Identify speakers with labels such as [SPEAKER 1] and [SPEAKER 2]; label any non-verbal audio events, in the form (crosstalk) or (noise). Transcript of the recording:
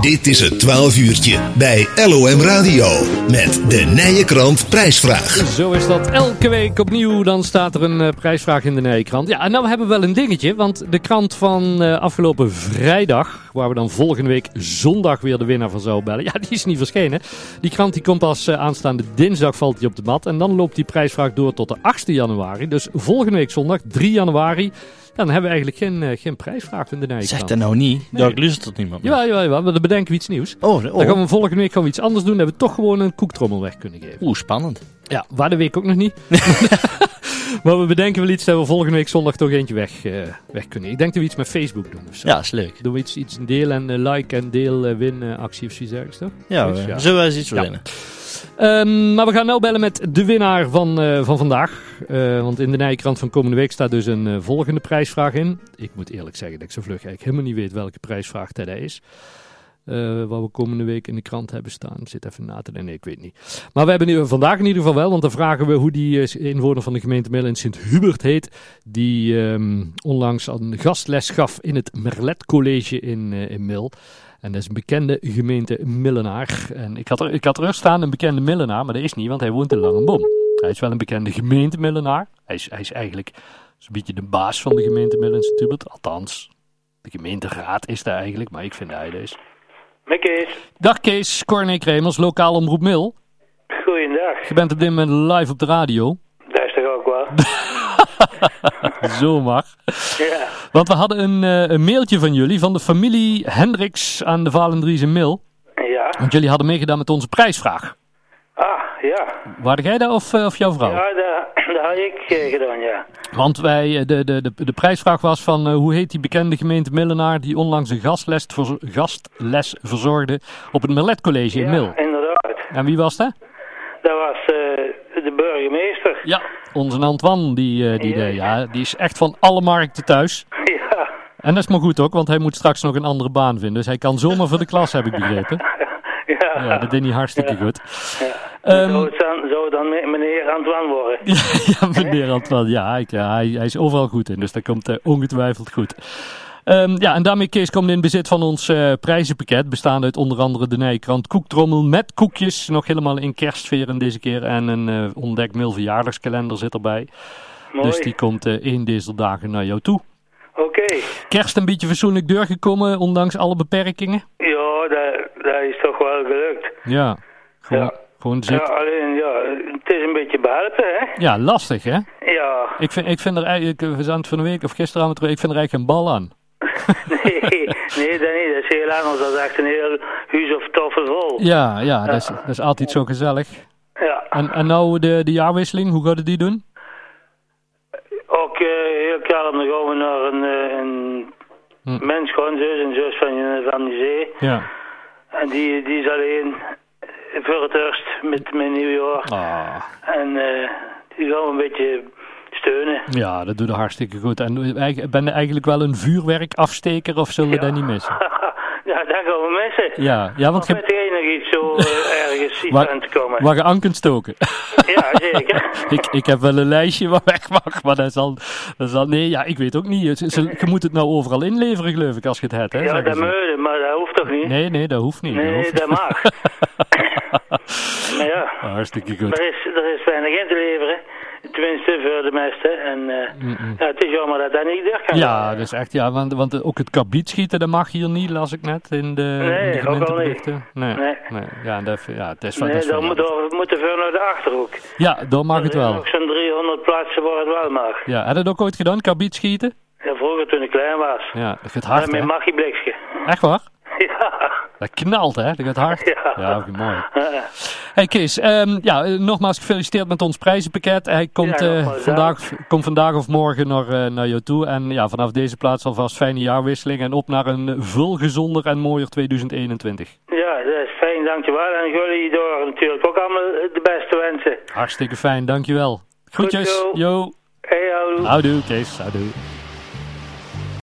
[SPEAKER 1] Dit is het 12 uurtje bij LOM Radio met de Nijenkrant prijsvraag.
[SPEAKER 2] Zo is dat elke week opnieuw. Dan staat er een eh, prijsvraag in de Nijenkrant. Ja, en nou hebben we wel een dingetje. Want de krant van eh, afgelopen vrijdag, waar we dan volgende week zondag weer de winnaar van zouden bellen. Ja, die is niet verschenen. Die krant die komt pas eh, aanstaande dinsdag valt die op de mat. En dan loopt die prijsvraag door tot de 8e januari. Dus volgende week zondag, 3 januari. ja, dan hebben we eigenlijk geen, eh, geen prijsvraag in de
[SPEAKER 3] Zeg
[SPEAKER 2] Nijenkrant.
[SPEAKER 3] dat nou niet.
[SPEAKER 2] Nee.
[SPEAKER 3] Daar luistert tot niemand. meer.
[SPEAKER 2] Jawel, jawel, jawel. maar Dan bedenken we iets nieuws.
[SPEAKER 3] Oh, oh.
[SPEAKER 2] Dan gaan we volgende week gaan we iets anders doen. Dat we toch gewoon een koektrommel weg kunnen geven.
[SPEAKER 3] Oeh, spannend.
[SPEAKER 2] Ja, waar de week ook nog niet. (laughs) maar we bedenken wel iets dat we volgende week zondag toch eentje weg, eh, weg kunnen. Ik denk dat we iets met Facebook doen of zo.
[SPEAKER 3] Ja, is leuk.
[SPEAKER 2] Doen we iets, iets deel en eh, like en deel eh, win eh, actie of zoiets ergens, toch?
[SPEAKER 3] Ja,
[SPEAKER 2] Zoiets,
[SPEAKER 3] we- zullen we eens iets winnen?
[SPEAKER 2] Ehm, maar we gaan nou bellen met de winnaar van, eh, van vandaag. Eh, want in de Nijkrant van komende week staat dus een eh, volgende prijsvraag in. Ik moet eerlijk zeggen dat ik zo vlug eigenlijk helemaal niet weet welke prijsvraag dat hij is. Eh wat we komende week in de krant hebben staan. Ik Zit even na te denken, nee, ik weet niet. Maar we hebben nu, vandaag in ieder geval wel, want dan vragen we hoe die eh, inwoner van de gemeente Middel in Sint-Hubert heet. Die ehm, onlangs een gastles gaf in het Merlet College in, eh in Mil. En dat is een bekende gemeente Millenaar. En ik had, er, ik had er staan een bekende Millenaar, maar dat is niet, want hij woont in Langenbom. Hij is wel een bekende gemeente Millenaar. Hij is, hij is eigenlijk zo'n beetje de baas van de gemeente Millen Tubert. Althans, de gemeenteraad is daar eigenlijk, maar ik vind dat hij dat is.
[SPEAKER 4] Met Kees,
[SPEAKER 2] Dag Kees, Corné Kremers, lokaal omroep Mil.
[SPEAKER 4] goeiedag.
[SPEAKER 2] Je bent op dit moment live op de radio.
[SPEAKER 4] Dat is toch ook
[SPEAKER 2] (laughs)
[SPEAKER 4] wel?
[SPEAKER 2] Zomaar.
[SPEAKER 4] ja.
[SPEAKER 2] Want we hadden een, eh, een mailtje van jullie, van de familie Hendricks aan de Valendriese Mil.
[SPEAKER 4] Ja.
[SPEAKER 2] Want jullie hadden meegedaan met onze prijsvraag.
[SPEAKER 4] Ah, ja.
[SPEAKER 2] Waren jij daar of, eh, of jouw vrouw?
[SPEAKER 4] Ja, dat, dat had ik eh, gedaan, ja.
[SPEAKER 2] Want wij, eh, de, de, de, de prijsvraag was van eh, hoe heet die bekende gemeente Millenaar die onlangs een gastles, verzo- gastles verzorgde op het Merlet College in Mil.
[SPEAKER 4] Ja, inderdaad.
[SPEAKER 2] En wie was dat?
[SPEAKER 4] Dat was eh, de burgemeester.
[SPEAKER 2] Ja. Onze Antoine, die, eh, die,
[SPEAKER 4] Ja.
[SPEAKER 2] deed, ja, die is echt van alle markten thuis.
[SPEAKER 4] Ja.
[SPEAKER 2] En dat is maar goed ook, want hij moet straks nog een andere baan vinden. Dus hij kan zomaar voor de klas, heb ik begrepen.
[SPEAKER 4] (laughs) Ja.
[SPEAKER 2] Ja, dat deed hij hartstikke goed. Ehm,
[SPEAKER 4] Zou, het dan, zou dan me- meneer Antoine worden?
[SPEAKER 2] Ja, (laughs) ja, meneer Antoine, ja, ik, ja, hij, hij is overal goed in, dus dat komt eh, ongetwijfeld goed. Ehm, ja, en daarmee Kees komt in bezit van ons eh, prijzenpakket, bestaande uit onder andere de Nijkrant koektrommel met koekjes, nog helemaal in kerstsferen deze keer, en een eh, ontdek mil verjaardagskalender zit erbij.
[SPEAKER 4] Mooi.
[SPEAKER 2] Dus die komt eh, één deze dagen naar jou toe.
[SPEAKER 4] Oké.
[SPEAKER 2] Kerst een beetje verzoenlijk doorgekomen, ondanks alle beperkingen.
[SPEAKER 4] Ja, dat, dat is toch wel gelukt.
[SPEAKER 2] Ja, gewoon,
[SPEAKER 4] Ja.
[SPEAKER 2] gewoon
[SPEAKER 4] Ja,
[SPEAKER 2] zitten.
[SPEAKER 4] alleen, ja, het is een beetje behelpen, hè?
[SPEAKER 2] Ja, lastig hè?
[SPEAKER 4] Ja. (laughs)
[SPEAKER 2] Ik vind, ik vind er eigenlijk, eh, we zijn het van de week of gisteravond, terug, ik vind er eigenlijk geen bal aan.
[SPEAKER 4] Nee, nee, dat niet. Dat is heel anders. Dat is echt een heel huis of toffe vol.
[SPEAKER 2] Ja, ja, dat
[SPEAKER 4] Eh,
[SPEAKER 2] is, dat is altijd zo gezellig.
[SPEAKER 4] Ja.
[SPEAKER 2] En, en nou de, de jaarwisseling, hoe gaat het die doen?
[SPEAKER 4] Ook eh, heel kalm, dan gaan we naar een, eh, een
[SPEAKER 2] Hm.
[SPEAKER 4] mens, gewoon zus en zus van, eh, van die zee.
[SPEAKER 2] Ja.
[SPEAKER 4] En die, die is alleen voor het eerst met mijn nieuwjaar.
[SPEAKER 2] Ah,
[SPEAKER 4] En eh, die gaan we een beetje steunen. (laughs)
[SPEAKER 2] ja, dat doet het hartstikke goed. En eigenlijk- ben je eigenlijk wel een vuurwerkafsteker of zullen we dat niet missen?
[SPEAKER 4] ja, daar gaan we missen.
[SPEAKER 2] Ja, ja want
[SPEAKER 4] Of met
[SPEAKER 2] je,
[SPEAKER 4] jij nog iets zo eh,
[SPEAKER 2] (laughs)
[SPEAKER 4] ergens iets
[SPEAKER 2] Waar-
[SPEAKER 4] aan te komen.
[SPEAKER 2] waar je aan kunt stoken. (laughs)
[SPEAKER 4] Ja, zeker.
[SPEAKER 2] ik, ik heb wel een lijstje waar weg mag, maar dat zal, dat zal... Nee, ja, ik weet ook niet. Ze- ze- je moet het nou overal inleveren, geloof ik, als je het hebt, hè?
[SPEAKER 4] ja,
[SPEAKER 2] zeggen
[SPEAKER 4] dat
[SPEAKER 2] ze.
[SPEAKER 4] meurde, maar dat hoeft toch niet?
[SPEAKER 2] Nee, nee, dat hoeft niet.
[SPEAKER 4] nee,
[SPEAKER 2] dat
[SPEAKER 4] nee,
[SPEAKER 2] hoeft (laughs)
[SPEAKER 4] dat
[SPEAKER 2] niet. Ah,
[SPEAKER 4] mag. maar ja.
[SPEAKER 2] Hartstikke goed.
[SPEAKER 4] Er is, er is weinig in te leveren. Tenminste, voor de meesten. En eh, ja, het is jammer dat dat niet door kan.
[SPEAKER 2] Ja, dat is echt, ja, want, want ook het kabiet schieten, dat mag hier niet, las ik net in de,
[SPEAKER 4] Nee,
[SPEAKER 2] in de
[SPEAKER 4] ook al niet.
[SPEAKER 2] gemeenteberichten. Nee, nee.
[SPEAKER 4] Nee.
[SPEAKER 2] Ja, dat, ja, het is wel, dat
[SPEAKER 4] Nee,
[SPEAKER 2] is wel
[SPEAKER 4] dan moet,
[SPEAKER 2] jammer.
[SPEAKER 4] we moeten veel naar de Achterhoek.
[SPEAKER 2] Ja, dan mag het
[SPEAKER 4] Er zijn
[SPEAKER 2] wel.
[SPEAKER 4] nog zo'n 300 plaatsen waar het wel mag.
[SPEAKER 2] Ja, had je dat ook ooit gedaan, kabiet schieten?
[SPEAKER 4] Ja, vroeger toen ik klein was.
[SPEAKER 2] Ja, dat gaat
[SPEAKER 4] Ja,
[SPEAKER 2] hard,
[SPEAKER 4] met
[SPEAKER 2] hè?
[SPEAKER 4] Maggie Blikske. (laughs)
[SPEAKER 2] Echt waar?
[SPEAKER 4] Ja.
[SPEAKER 2] Dat knalt, hè? Dat gaat hard.
[SPEAKER 4] Ja.
[SPEAKER 2] Ja, mooi. Hey Kees, ehm, ja, eh, nogmaals gefeliciteerd met ons prijzenpakket. Hij komt,
[SPEAKER 4] Ja,
[SPEAKER 2] eh,
[SPEAKER 4] nogmaals,
[SPEAKER 2] vandaag, komt vandaag of morgen naar, eh, naar jou toe. En ja, vanaf deze plaats alvast fijne jaarwisseling. En op naar een eh, veel gezonder en mooier 2021.
[SPEAKER 4] ja, dat is fijn, dankjewel. En jullie door natuurlijk ook allemaal de beste wensen.
[SPEAKER 2] Hartstikke fijn, dankjewel. Groetjes.
[SPEAKER 4] Goed zo.
[SPEAKER 2] Yo.
[SPEAKER 4] Hey, houdoe.
[SPEAKER 2] Houdoe, Kees. Houdoe.